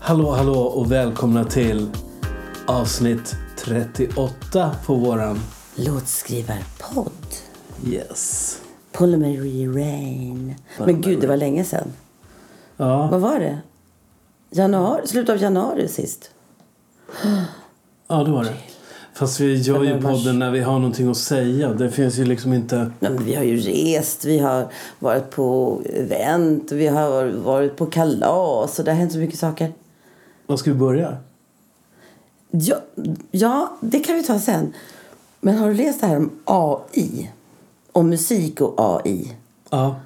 Hallå, hallå och välkomna till avsnitt 38 på våran Låtskrivarpodd. Yes. Polymery Rain. Men gud, det var länge sedan. Ja, Vad var det? Januari, slutet av januari sist. ja det var det. Fast vi gör ju men vars- podden när vi har någonting att säga. Det finns ju liksom inte... Nej, men vi har ju rest, vi har varit på event, vi har varit på kalas och det har hänt så mycket saker. Var ska vi börja? Ja, ja det kan vi ta sen. Men har du läst det här om AI? Om musik och AI? Ja,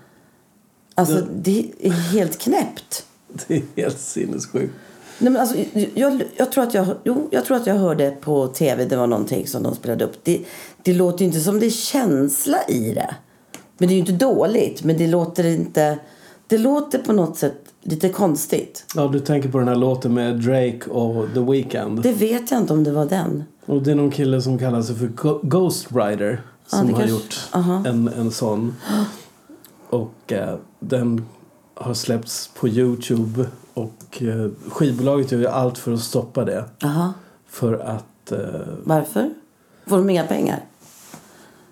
Alltså, det är helt knäppt. det är helt sinnessjukt. Nej, men alltså, jag, jag, tror att jag, jo, jag tror att jag hörde på tv, det var någonting som de spelade upp. Det, det låter ju inte som det är känsla i det. Men det är ju inte dåligt, men det låter inte... Det låter på något sätt lite konstigt. Ja, du tänker på den här låten med Drake och The Weeknd. Det vet jag inte om det var den. Och det är någon kille som kallar sig för Go- Ghost Rider Ja, som det har kanske- gjort Aha. en, en sån. Och eh, den har släppts på Youtube och eh, skivbolaget gör ju allt för att stoppa det. Jaha, För att... Eh, varför? Får de inga pengar?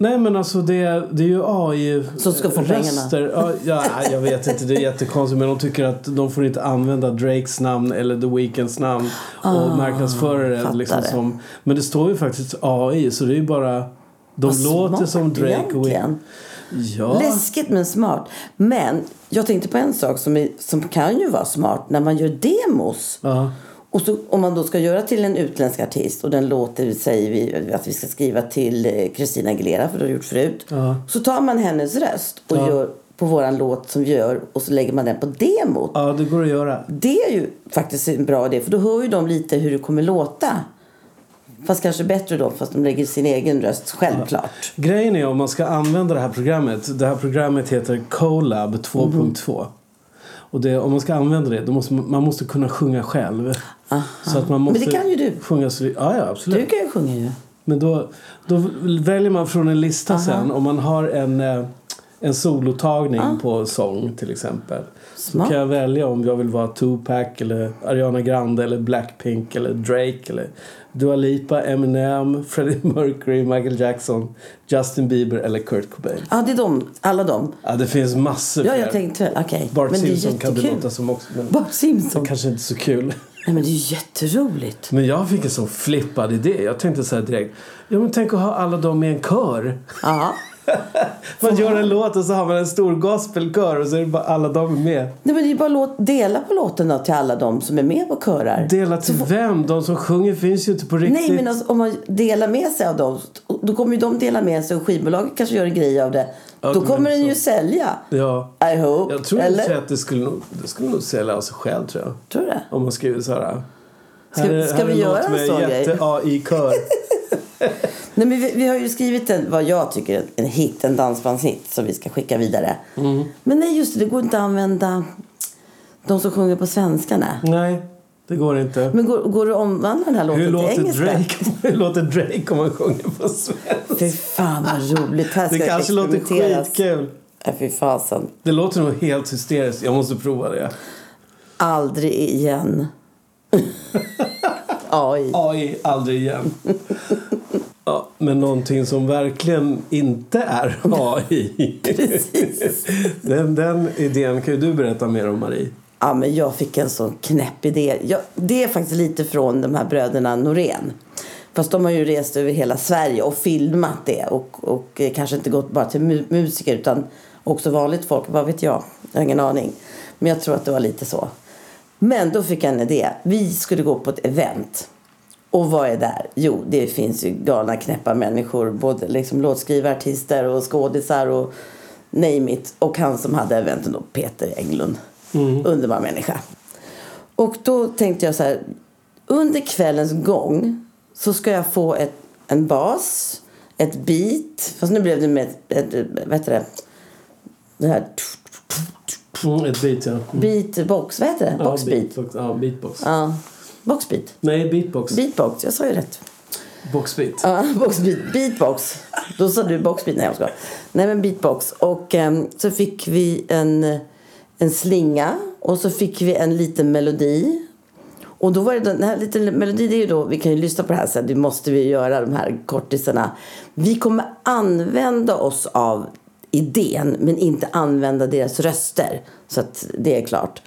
nej men alltså det, det är ju AI... Som ska få röster. Ja, ja, jag vet inte, det är jättekonstigt men de tycker att de får inte använda Drakes namn eller The Weeknds namn och Ah, marknadsföra det. fattar Liksom, det. som, men det står ju faktiskt AI så det är ju bara... De Vad låter smart som Drake och Weeknd. egentligen. Ja. Läskigt men smart. Men jag tänkte på en sak som, är, som kan ju vara smart när man gör demos. ja. Och så, om man då ska göra till en utländsk artist och den låter, säger vi att vi ska skriva till eh, Christina Aguilera för det har vi gjort förut. Ja. Så tar man hennes röst och Ja. gör på våran låt som vi gör och så lägger man den på demot. ja, det går att göra. Det är ju faktiskt en bra idé för då hör ju de lite hur det kommer låta. Fast kanske bättre då fast de lägger sin egen röst självklart. Grejen är om man ska använda det här programmet. Det här programmet heter Colab 2.2. Mm-hmm. Och det, om man ska använda det, då måste man, man måste kunna sjunga själv. Ah. Så att man Men måste det kan ju du. Sjunga så, ja, ja, absolut. Du kan ju sjunga ju. Men då, då väljer man från en lista sen. Om man har en, eh, en solotagning på sång till exempel. Smart. Så kan jag välja om jag vill vara Tupac eller Ariana Grande eller Blackpink eller Drake eller Dua Lipa, Eminem, Freddie Mercury, Michael Jackson, Justin Bieber eller Kurt Cobain. Ja, det är de. Alla de. Ja, det finns massor Ja, fler. jag tänkte väl. Okej. Bart Men det är Simpson kan det jättekul. låta som också. Men Bart Simpson. kanske inte så kul. Nej, men det är ju jätteroligt. Men jag fick en sån flippad idé. Jag tänkte så här direkt. Ja, men tänk att ha alla dem i en kör. Ja. Man gör en låt och så har man en stor gospelkör och så är det bara alla de är med. Nej, men det är bara låt, dela på låten då till alla de som är med på körar. Dela till vem? De som sjunger finns ju inte på riktigt. Nej, men alltså, om man delar med sig av dem, då kommer ju de dela med sig och skivbolaget kanske gör en grej av det. Ja, då men kommer den så- ju sälja. Ja. I hope. Jag tror Eller? Eller? att det skulle, nog, det skulle nog sälja av sig själv tror jag. Tror du det? Om man skriver så här. Ska- här är- ska här är vi en låt göra en med sån grej? jätte-AI-kör. Nej, men vi, vi har ju skrivit en, vad jag tycker, en hit, en dansbandshit som vi ska skicka vidare. Mm. Men nej, just det, det går inte att använda de som sjunger på svenska. Nej. Nej, det går inte. Men går, går det att omvandla den här låten Hur låter, till engelska? Drake, hur låter Drake om man sjunger på svenska? Fy fan vad roligt. Här Det ska kanske låter experimenteras. skitkul. Nej, fy fasen. Det låter nog helt hysteriskt. Jag måste prova det. Aldrig igen. AI. AI, aldrig igen. Ja, men någonting som verkligen inte är AI. Precis. Den, den idén kan ju du berätta mer om, Marie. Ja, men jag fick en sån knäpp idé. Jag, det är faktiskt lite från de här bröderna Norén. Fast de har ju rest över hela Sverige och filmat det. Och, och eh, kanske inte gått bara till mu- musiker utan också vanligt folk. Vad vet jag? Jag har ingen aning. Men jag tror att det var lite så. Men då fick jag en idé. Vi skulle gå på ett event. Och vad är där? Jo, det finns ju galna knäppa människor. Både liksom låtskrivare, artister och skådisar och name it. Och han som hade eventen då, Peter Englund. Mm. Underbar människa. Och då tänkte jag så här. Under kvällens gång så ska jag få ett, en bas, ett beat. Fast nu blev det med ett, ett vad heter det? Det här Mm, ett beat, ja. Mm. beatbox, vad heter det? Ja, Boxbeat. beatbox. Ja, beatbox. Ja, boxbeat. Nej, beatbox. Beatbox, jag sa ju rätt. Boxbeat. Ja, boxbeat, beatbox. Då sa du boxbeat. Nej, jag skojar. Nej, men beatbox. Och ehm, så fick vi en, en slinga och så fick vi en liten melodi. Och då var det den här liten melodin, det är ju då, vi kan ju lyssna på det här sen, det måste vi göra de här kortisarna. Vi kommer använda oss av idén men inte använda deras röster. Så att det är klart.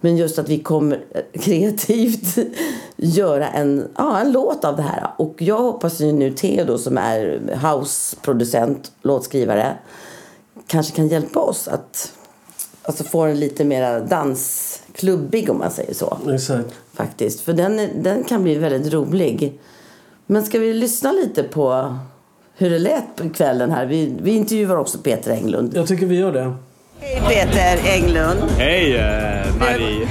Men just att vi kommer kreativt göra en, ja, en låt av det här. Och jag hoppas ju nu Theo då, som är houseproducent, låtskrivare, kanske kan hjälpa oss att alltså, få en lite mer dansklubbig om man säger så. Exakt. Faktiskt. För den, är- den kan bli väldigt rolig. Men ska vi lyssna lite på hur det lät på kvällen här? Vi, vi intervjuar också Peter Englund. Jag tycker vi gör det. Hej Peter Englund! Hej eh, Marie!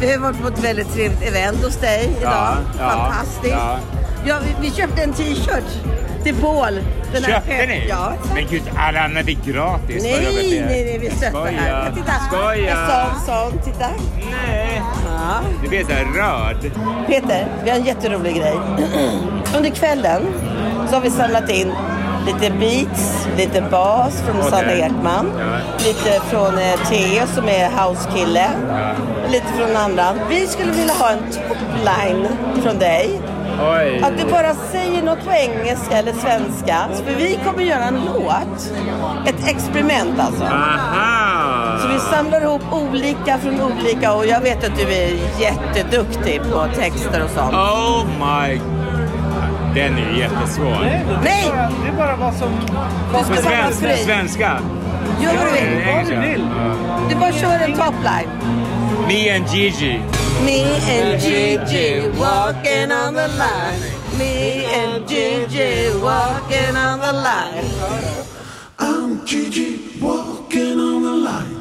Vi har varit på ett väldigt trevligt event hos dig idag. Ja, ja, Fantastiskt. Ja. ja. vi, vi köpte en t-shirt till Paul. Den här Köpte fem- ni? Ja. Men gud, alla andra fick gratis. Nej, vad jag vet nej, det. nej, vi stöttar här. Skoja! Titta, Skoja! en sån, sån, titta. Nej! Ja. Du blir så här rörd. Peter, vi har en jätterolig grej. Under kvällen så har vi samlat in lite beats, lite bas från Okej. Sanna Ekman, Ja. lite från eh, Theo som är housekille, lite från andra. Vi skulle vilja ha en topline från dig. Oj! Att du bara säger något på engelska eller svenska. För vi kommer göra en låt. Ett experiment alltså. Aha! Så vi samlar ihop olika från olika och jag vet att du är jätteduktig på texter och sånt. Oh my... Den är ju jättesvår. Nej! Det är bara vad som... Du ska På vara svenska? fri. svenska. Gör vad du vill. Eller engelska. Vad du vill. Ja. Du bara kör en topline. Me and Gigi. Me and Gigi walking on the line. Me and Gigi walking on the line. I'm Gigi walking on the light.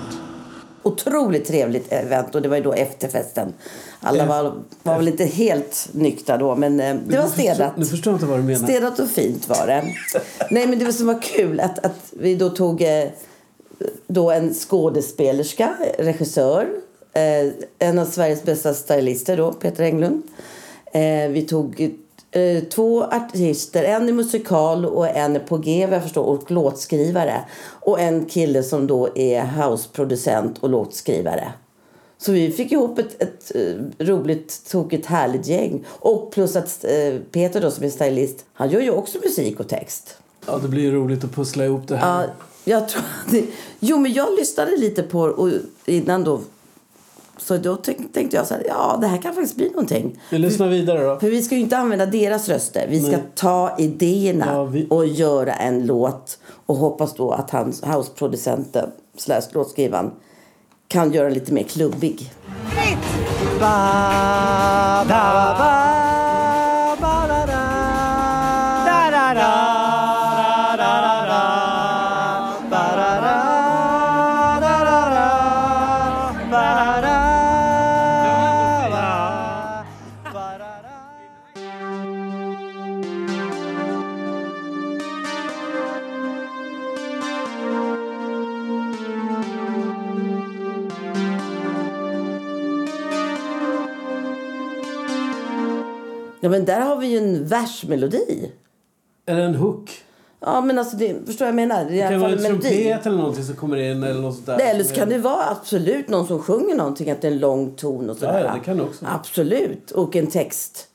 Otroligt trevligt event och det var ju då efterfesten. Alla Eh, var, var väl inte helt nyktra då men eh, det var städat. Nu förstår jag inte vad du menar. Städat och fint var det. Nej men det var som var kul att, att vi då tog eh, då en skådespelerska, regissör, eh, en av Sveriges bästa stylister då, Peter Englund. Eh, vi tog eh, två artister, en är musikal och en är på G vad jag förstår och låtskrivare. Och en kille som då är houseproducent och låtskrivare. Så vi fick ihop ett, ett eh, roligt, tokigt, härligt gäng. Och plus att eh, Peter då som är stylist, han gör ju också musik och text. Ja, det blir ju roligt att pussla ihop det här. Ja, jag tror att det, Jo, men jag lyssnade lite på och innan då. Så då tänk- tänkte jag så här, ja det här kan faktiskt bli någonting. Vi lyssnar vidare då. För vi ska ju inte använda deras röster. Vi ska Nej. ta idéerna Ja, vi- och göra en låt. Och hoppas då att han, houseproducenten slash låtskrivaren kan göra lite mer klubbig. Ja men där har vi ju en versmelodi. Eller en hook. Ja men alltså det, förstår jag vad jag menar? Det är Det i alla kan vara fall en en melodi. trumpet eller någonting som kommer in eller något sånt där. Eller så kan det vara absolut någon som sjunger någonting, att det är en lång ton och sådär. Ja, ja, det kan det också vara. Absolut, och en text.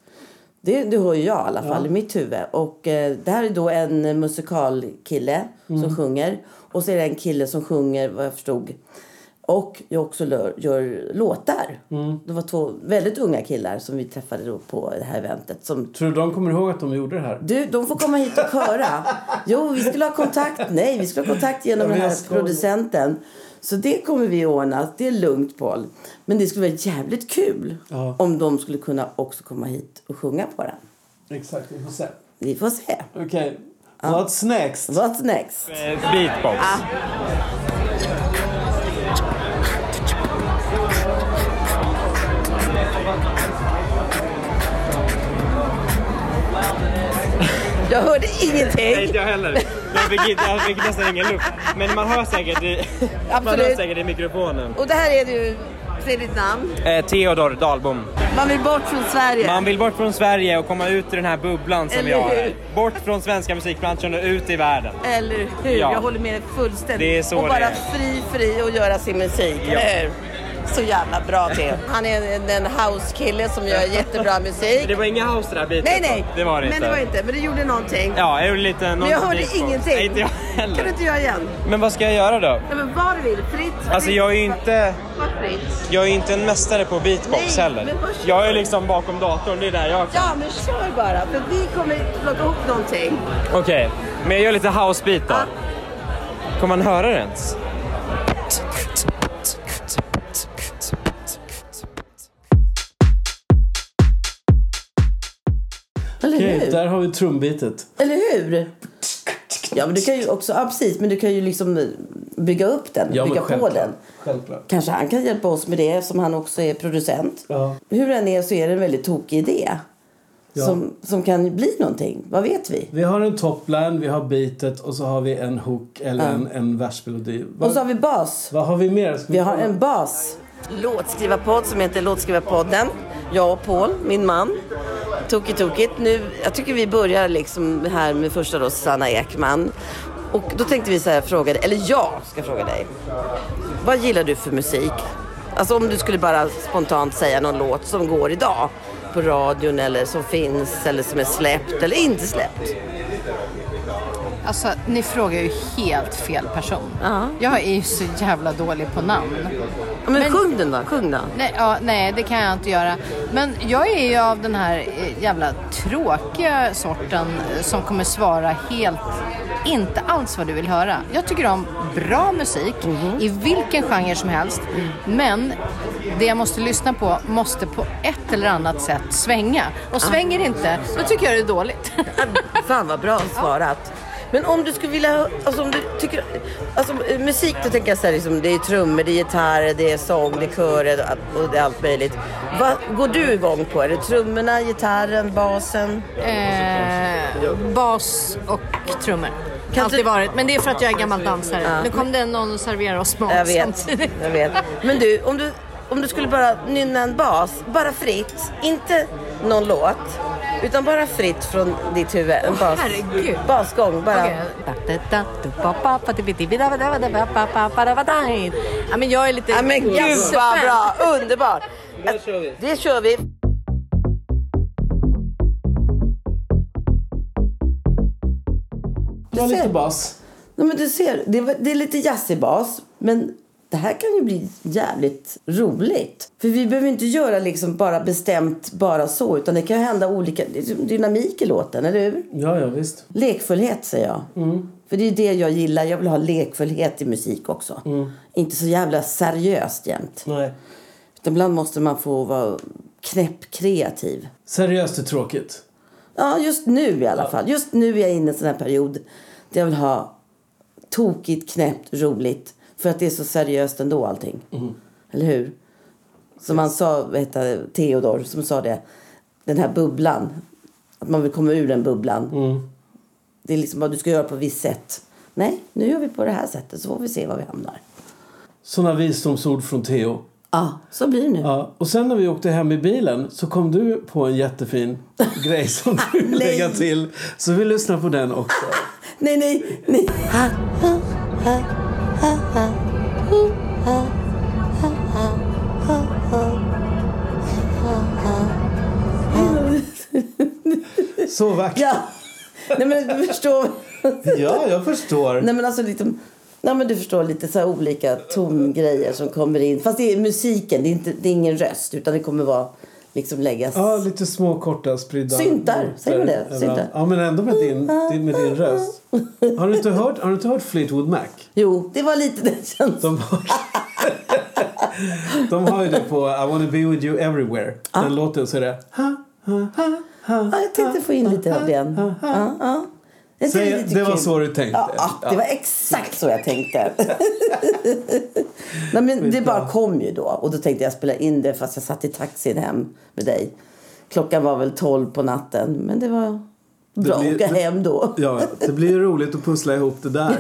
Det, det hör ju jag i alla fall i mitt huvud. Och eh, det här är då en eh, musikalkille Mm. som sjunger. Och så är det en kille som sjunger, vad jag förstod. Och jag också lör, gör låtar. Mm. Det var två väldigt unga killar som vi träffade då på det här eventet. Som Tror du de kommer ihåg att de gjorde det här? du, de får komma hit och köra. Jo, vi skulle ha kontakt. Nej, vi skulle ha kontakt genom Ja, den men här jag skojar. producenten. Så det kommer vi att ordna. Det är lugnt, Paul. Men det skulle vara jävligt kul Ja. om de skulle kunna också komma hit och sjunga på den. Exakt, vi får se. Vi får se. Okej. What's next? What's next? Eh, Beatbox. Ah. Jag hörde ingenting. Inte jag heller. Jag fick, inte, jag fick nästan ingen luft. Men man hör säkert i, man hör Absolut. säkert i mikrofonen. Och det här är du. Säg ditt namn. Eh, Theodor Dahlbom. Man vill bort från Sverige. Man vill bort från Sverige och komma ut ur den här bubblan som Eller vi har. hur? här. Bort från svenska musikbranschen och ut i världen. Eller hur? Ja. Jag håller med dig fullständigt. Det är så och det bara är. fri, fri och göra sin musik. Ja. Eller hur? Så jävla bra till. Han är en, en house-kille som gör jättebra musik. Det var inga house där bitar. Nej, nej. Det var det men inte. det var inte. Men det gjorde någonting. Ja, jag gjorde lite... men jag hörde Nej, ingenting. inte jag Kan du heller. inte göra igen? Men vad ska jag göra då? Nej, men vad du vill. Fritt. fritt. Alltså jag är ju inte... Var fritt. Jag är ju inte en mästare på beatbox Nej, heller. men vad kör Jag är du? liksom bakom datorn, det är där jag kan. Ja, men kör bara. För vi kommer plocka ihop någonting. Okej, men jag gör lite housebeat då. Ja. Kommer man höra det ens? Eller Okej, hur? där har vi trumbitet. Eller hur? Ja, men du kan ju också... Ja, precis. Men du kan ju liksom bygga upp den. Ja, men bygga på självklart. den. Självklart. Kanske han kan hjälpa oss med det som han också är producent. Ja. Hur den är så är det en väldigt tokig idé. Ja. Som, som kan bli någonting. Vad vet vi? Vi har en topline, vi har beatet och så har vi en hook eller en, en versmelodi. Och så Vad, har vi bas. vad har vi mer? Ska Vi har kolla? en bas. Låtskrivarpodd som heter Låtskrivarpodden. Jag och Paul, min man. Tokigt, tokigt. Nu, jag tycker vi börjar liksom här med första då, Sanna Ekman. Och då tänkte vi så här, fråga dig, eller jag ska fråga dig. Vad gillar du för musik? Alltså om du skulle bara spontant säga någon låt som går idag på radion eller som finns eller som är släppt eller inte släppt. Alltså, ni frågar ju helt fel person. Jag är ju så jävla dålig på namn. Ja, Men, sjung den då, sjung den. Nej, ja, nej, det kan jag inte göra. Men jag är ju av den här eh, jävla tråkiga sorten eh, som kommer svara helt inte alls vad du vill höra. Jag tycker om bra musik i vilken genre som helst. Men det jag måste lyssna på måste på ett eller annat sätt svänga. Och svänger det inte, då tycker jag det är dåligt. Fan vad bra svarat. Men om du skulle vilja, alltså om du tycker, alltså eh, musik då tänker jag så här liksom, det är trummor, det är gitarr, det är sång, det är körer och det är allt möjligt. Vad går du igång på? Är det trummorna, gitarren, basen? Eh, bas och trummor. Kan Alltid du- varit, men det är för att jag är gammal dansare. Nu kom det någon och serverade oss mat Jag vet, samtidigt. jag vet. Men du, om du, om du skulle bara nynna en bas, bara fritt, inte någon låt, utan bara fritt från ditt huvud. En bas, herregud. basgång, bara. Okej. Ja, men jag är lite... Ja, men gud vad bra, underbart. Det kör vi. Det var lite bas. Nej, men du ser, det, var- det är lite jazzig bas, men det här kan ju bli jävligt roligt. För vi behöver inte göra liksom bara bestämt bara så, utan det kan ju hända olika det är dynamik i låten, eller hur? Ja, ja visst. Lekfullhet säger jag. För det är det jag gillar, jag vill ha lekfullhet i musik också. Inte så jävla seriöst jämt. Nej. Utan ibland måste man få vara knäpp kreativ. Seriöst är tråkigt. Ja, just nu i alla fall. Just nu är jag inne i en sån här period där jag vill ha tokigt, knäppt, roligt. För att det är så seriöst ändå allting. Eller hur? Som han sa, vad heter det, Theodor, som sa det. Den här bubblan. Att man vill komma ur den bubblan. Det är liksom vad du ska göra på ett visst sätt. Nej, nu gör vi på det här sättet så får vi se var vi hamnar. Såna visdomsord från Theo. Ja, så blir det nu. Ja, och sen när vi åkte hem i bilen så kom du på en jättefin grej som du vill Nej. lägga till. Så vi lyssnar på den också. Nej, nej, nej. Så vackert. Ja. Nej, men du förstår. Ja, jag förstår. Nej men alltså liksom, nej men du förstår lite så här olika tongrejer som kommer in. Fast det är musiken, det är, inte, det är ingen röst utan det kommer vara liksom läggas. Ja, lite små korta spridda Syntar, noter säger man det? överallt. Syntar. Ah, Ja, men ändå med din, din, med din röst. Har du inte hört, har du inte hört Fleetwood Mac? Jo, det var lite den känslan. De har, de har ju det på I wanna be with you everywhere. Ah. Den låten så är det... Ha, ha, ha, ha. Ja, jag tänkte få in lite av den. Ja, ja. Jag tycker Säg- är lite det var kul. så du tänkte. Ja, ja, det Ja. var exakt så jag tänkte. Nej, men det bara kom ju då. Och då tänkte jag spela in det fast jag satt i taxin hem med dig. Klockan var väl tolv på natten. Men det var bra att blir- åka det- hem då. Ja, det blir ju roligt att pussla ihop det där.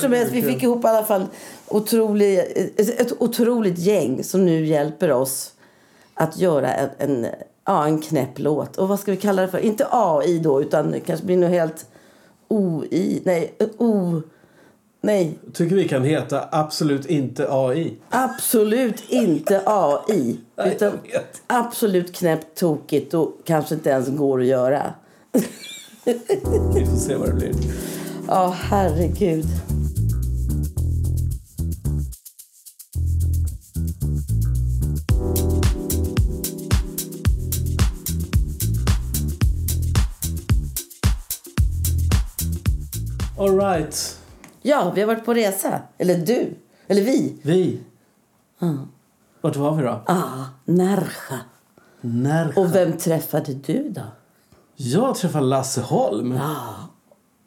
som helst, vi fick ihop i alla fall otrolig, ett, ett otroligt gäng som nu hjälper oss att göra en, en, ja, en knäpp låt. Och vad ska vi kalla det för? Inte AI då, utan det kanske blir något helt OI. Nej, O... Nej, Tycker vi kan heta Absolut inte AI. absolut inte AI. jag Utan vet. absolut knäppt tokigt och kanske inte ens går att göra. Vi får se vad det blir. Ja, herregud. All right. Ja, vi har varit på resa. Eller du. Eller vi. Vi. Vart var vi då? Ah, Närja. När? Och vem träffade du då? Jag träffade Lasse Holm.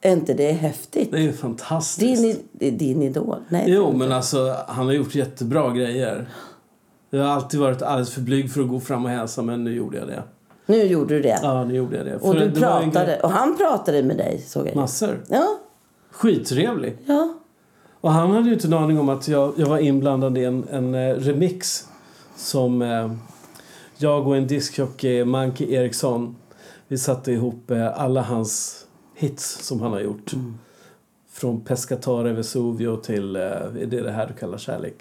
Är inte det häftigt? Det är ju fantastiskt. Din, i- din idol? Nej. Jo, men alltså han har gjort jättebra grejer. Jag har alltid varit alldeles för blyg för att gå fram och hälsa, men nu gjorde jag det. Nu gjorde du det. Ja, nu gjorde jag det. och För du det var en grej- pratade. Och han pratade med dig, såg jag. Massor. Ja, Skittrevlig. ja. Och han hade ju inte en aning om att jag, jag var inblandad i en, en eh, remix som eh, jag och en diskjockey, Monkey Eriksson, vi satte ihop eh, alla hans hits som han har gjort. Från Pescatore Vesuvio till eh, Är det det här du kallar kärlek?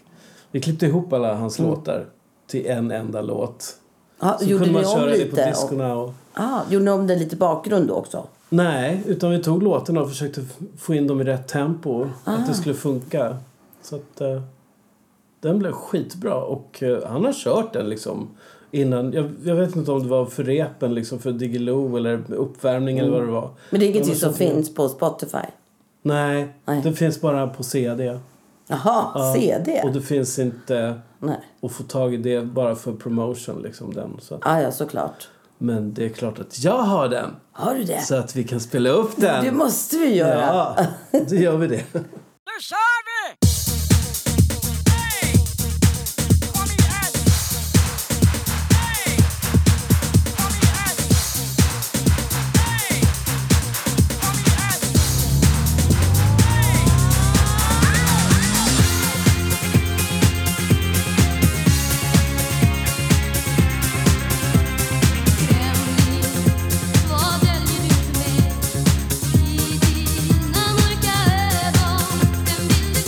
Vi klippte ihop alla hans låtar till en enda låt. ja Så gjorde kunde man ni om köra det på lite? Och, diskorna och... ah, gjorde ni om den lite bakgrund då också? Nej, utan vi tog låtarna och försökte f- få in dem i rätt tempo. Att Ah. det skulle funka. Så att eh, den blev skitbra och eh, han har kört den liksom innan. Jag, jag vet inte om det var för repen liksom för Diggiloo eller uppvärmning eller vad det var. Mm. Men det är ingenting har som kört den. finns på Spotify? Nej, Nej. den finns bara på CD. Jaha, Ja, CD? Och det finns inte Nej. att få tag i det bara för promotion liksom den. Så att, Ah, ja, såklart. men det är klart att jag har den. Har du det? Så att vi kan spela upp den. Det måste vi göra. Ja, då gör vi det. Nu kör vi! Hey! Kom igen! Hey! Kom igen! Hey! Kom igen! Vad väljer du för mig? I dina mörka ögon, den bild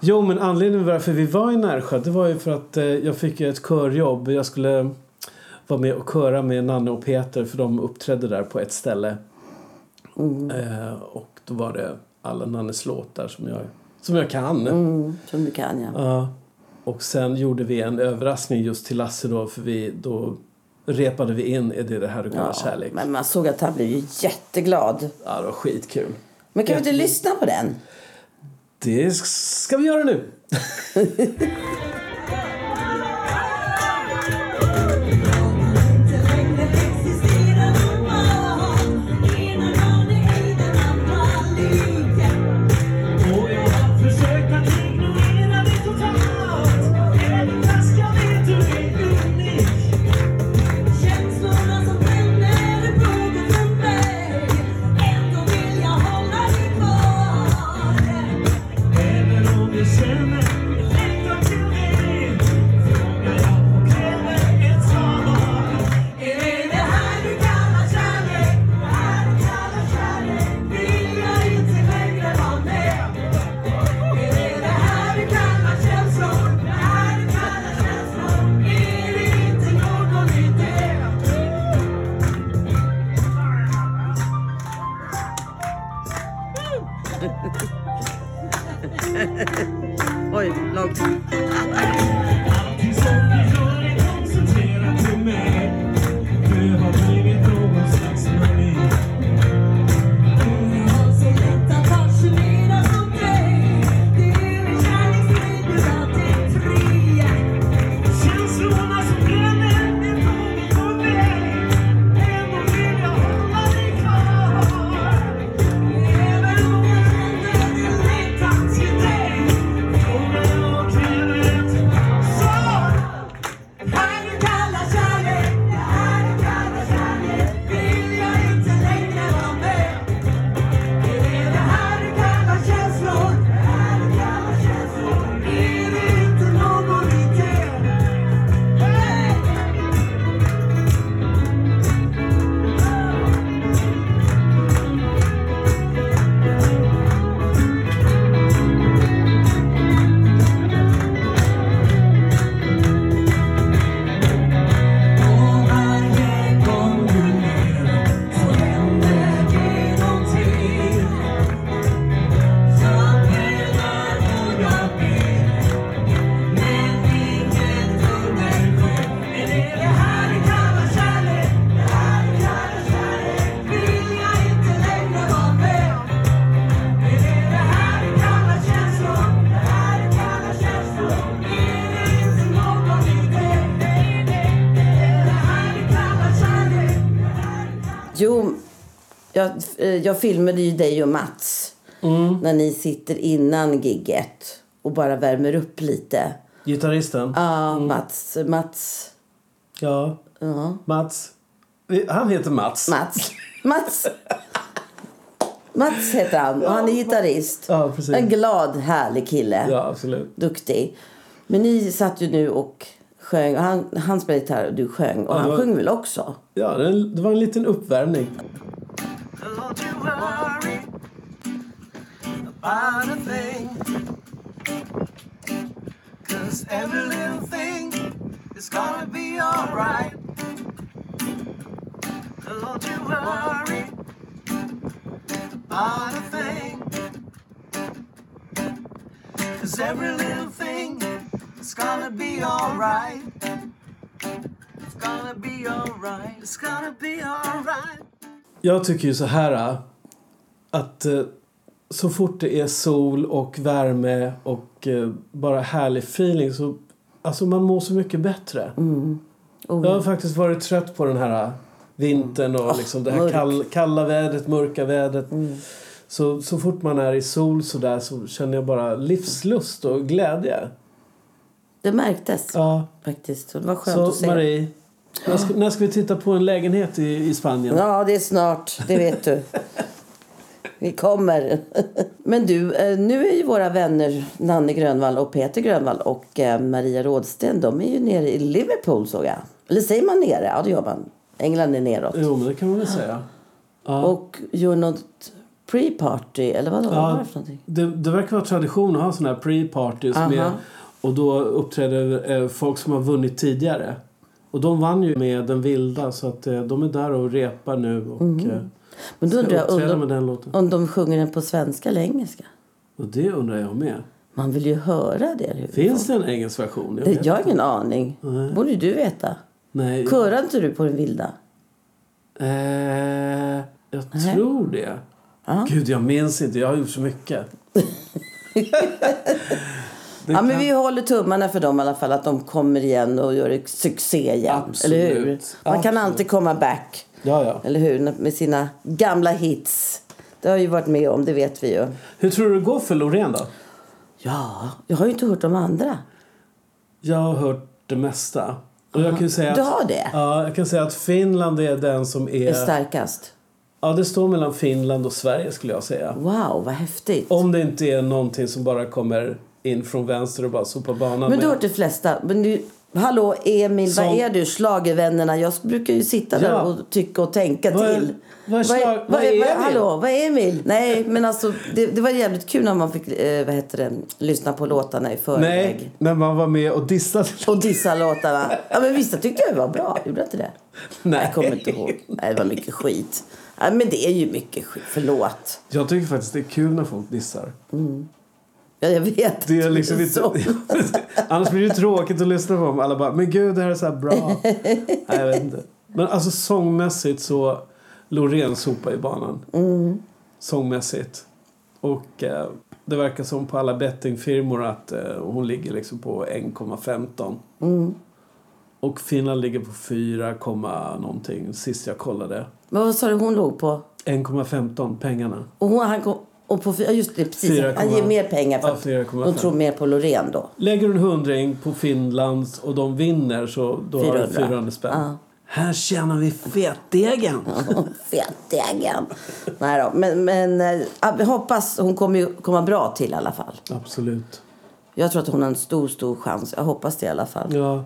Jo, men anledningen varför vi var i Närsjö det var ju för att eh, jag fick ju ett körjobb. Jag skulle vara med och köra med Nanne och Peter för de uppträdde där på ett ställe. Mm. Eh, och då var det alla Nannes låtar som jag, som jag kan. Mm, som du kan ja. Ja. Och sen gjorde vi en överraskning just till Lasse då för vi då repade vi in Är det det här du kallar ja. kärlek? Men man såg att han blev ju jätteglad. Ja, det var skitkul. Men kan vi inte lyssna på den? Det ska vi göra nu. Oj, långt. Jo, jag, eh, jag filmade ju dig och Mats Mm. när ni sitter innan gigget och bara värmer upp lite. Gitarristen. Ja, Mats, Mats, Ja. ja, Mats. Han heter Mats. Mats, Mats. Mats heter han och han är gitarrist. Ja, precis. En glad, härlig kille. Ja, absolut. Duktig. Men ni satt ju nu och sjöng. Och han, han spelade gitarr och du sjöng. Och det han var- sjöng väl också? Ja, det det var en liten uppvärmning. Don't you worry about a thing. Cause every little thing is gonna be alright. Don't you worry about a thing. Cause every little thing is gonna be alright. It's gonna be alright. It's gonna be alright. Jag tycker ju så här äh, att eh, så fort det är sol och värme och eh, bara härlig feeling så alltså man mår så mycket bättre. Oh, Ah, Jag har faktiskt varit trött på den här äh, vintern och liksom det här mörk. Mm. kall, kalla vädret, mörka vädret. Så, så fort man är i sol så där så känner jag bara livslust och glädje. Det märktes Ja. faktiskt. Och Det var skönt Så att se. Marie, när ska, när ska vi titta på en lägenhet i, i Spanien? Ja, det är snart. Det vet du. Vi kommer. Men du, eh, nu är ju våra vänner Nanne Grönvall och Peter Grönvall och eh, Maria Rådsten, de är ju nere i Liverpool såg jag. Eller säger man nere? Ja, det gör man. England är neråt. Jo, men det kan man väl säga. Och gör något pre-party eller vadå? Vad var det för någonting? det, det verkar vara tradition att ha sådana här pre-parties. Aha. Med, och då uppträder eh, folk som har vunnit tidigare. Och de vann ju med Den vilda så att eh, de är där och repar nu och eh, Men Mm. då ska undrar jag uppträda om med de, den låten. om de sjunger den på svenska eller engelska. Och det undrar jag med. Man vill ju höra det. Eller hur? Finns det en engelsk version? Jag det vet jag har inte. ingen aning. Nej. borde ju du veta. Nej. Körade inte du på den vilda? Eh, jag Nej. tror det. Ja. Gud, jag minns inte. Jag har gjort så mycket. Det Ja, men kan- vi håller tummarna för dem i alla fall. Att de kommer igen och gör succé igen. Absolut. Eller hur? Man kan Absolut. alltid komma back. ja, ja. Eller hur? Med sina gamla hits. Det har jag ju varit med om, det vet vi ju. Hur tror du det går för Loreen då? Ja, jag har ju inte hört de andra. Jag har hört det mesta. Och jag kan ju säga Du att, har det? Ja, jag kan säga att Finland är den som är... Är starkast. Ja, det står mellan Finland och Sverige skulle jag säga. Wow, vad häftigt. Om det inte är någonting som bara kommer in från vänster och bara sopar banan Men du har med. hört de flesta. Men du, hallå Emil, Som- vad är du? Schlagervännerna. Jag brukar ju sitta där Ja. och tycka och tänka Vad är- till. vad är schlag- vad är Emil? Hallå, vad är Emil? Nej, men alltså det, det var jävligt kul när man fick, eh, vad heter det, lyssna på låtarna i förväg. Nej, när man var med och dissade. Och dissa låtarna. Ja, men vissa tyckte jag var bra. Gjorde jag inte det? Nej. Jag kommer inte ihåg. Nej, det var mycket skit. Ja, men det är ju mycket skit. Förlåt. Jag tycker faktiskt det är kul när folk dissar. Ja, jag vet. Det att är du liksom så. inte... Annars blir det tråkigt att lyssna på dem. Alla bara, men gud det här är så här bra. Nej, jag vet inte. Men alltså sångmässigt så, Loreen sopar i banan. Mm. Sångmässigt. Och eh, det verkar som på alla bettingfirmor att eh, hon ligger liksom på 1,15. Mm. Och Finland ligger på 4, komma någonting sist jag kollade. Men vad sa du hon låg på? 1,15 pengarna. Och hon, han kom, och på, fy- ja, just det, precis. 4,5. han ger mer pengar för Ja, att 4,5. de tror mer på Loreen då. Lägger du en hundring på Finlands och de vinner så då har du 400. 400 spänn. Ja. Här tjänar vi fetdegen! Fettdegen. Nej då, men, men eh, jag hoppas hon kommer ju komma bra till i alla fall. Absolut. Jag tror att hon har en stor, stor chans. Jag hoppas det i alla fall. Ja.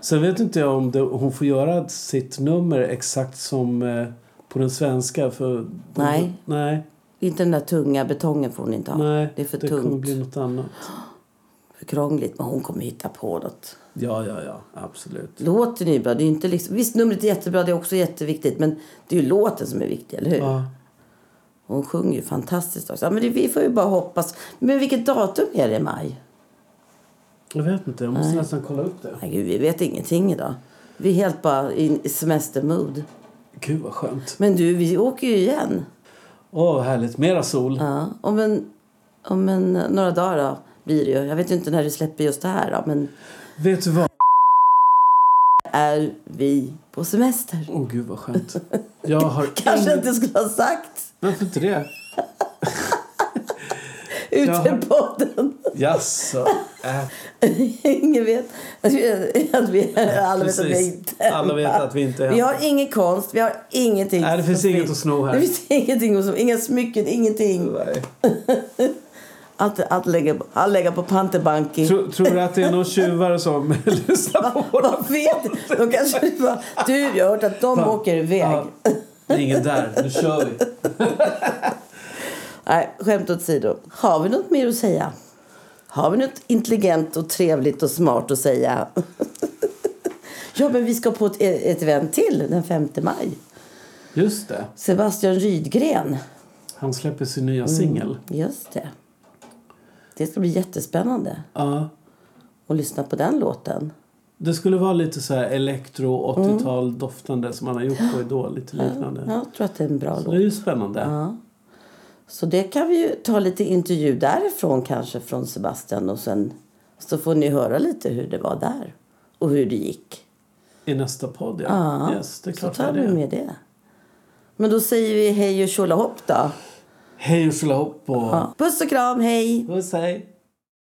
Sen vet inte jag om det, hon får göra sitt nummer exakt som eh, på den svenska. För Nej. Nej. Inte den där tunga betongen får hon inte ha. nej. det är för kommer tungt, bli något annat. för krångligt. Men hon kommer hitta på något. Ja, ja, ja. Absolut. Låten är ju bra. Det är ju inte liksom, visst, numret är jättebra. Det är också jätteviktigt. Men det är ju låten som är viktig, eller hur? Ja. Hon sjunger ju fantastiskt också. Ja, men det, vi får ju bara hoppas. Men vilket datum är det i maj? Jag vet inte. Jag måste nästan kolla upp det. Nej, gud, vi vet ingenting idag. Vi är helt bara i i semestermood. Gud, vad skönt. Men du, vi åker ju igen. Åh, vad härligt. Mera sol. Ja, om, en, om en, några dagar då, blir det ju. Jag vet ju inte när du släpper just det här då, men Vet du vad? är vi på semester? Åh, gud, vad skönt. Jag har Kanske ingen- inte skulle ha sagt Varför inte det? ut Jaha. i podden. Jaså? Äh, Ingen vet. Att vi, att vi, alla vet att vi precis. inte är Alla vet hemma. att vi inte är Vi hemma. har ingen konst, vi har ingenting. Nej, det finns som inget fin- att sno här. Det finns ingenting att sno. Inga smycken, ingenting. Nej. Allt, allt, lägga, allt lägga på panterbanken. Tror, tror du att det är någon tjuvare som lyssnar på våra... Vad vet de kanske bara, Du, jag har hört att de åker iväg. Ja. Det är ingen där, nu kör vi. Nej, skämt åsido. Har vi något mer att säga? Har vi något intelligent och trevligt och smart att säga? ja, men vi ska på ett, ett event till den 5 maj. Just det, Sebastian Rydgren. han släpper sin nya Mm. singel. Just det. Det ska bli jättespännande Ja. att lyssna på den låten. Det skulle vara lite så här elektro 80-tal doftande som han har gjort på Idol, lite Mm. Ja, liknande. jag tror att det är en bra Det är låt. ju spännande. Så det kan vi ju ta lite intervju därifrån kanske från Sebastian och sen så får ni höra lite hur det var där och hur det gick. I nästa podd, ja. Ja, Yes, det är så klart det tar vi är det. med det. Men då säger vi hej och tjolahopp då. Hej och tjolahopp och Ja. Puss och kram, hej! puss hej.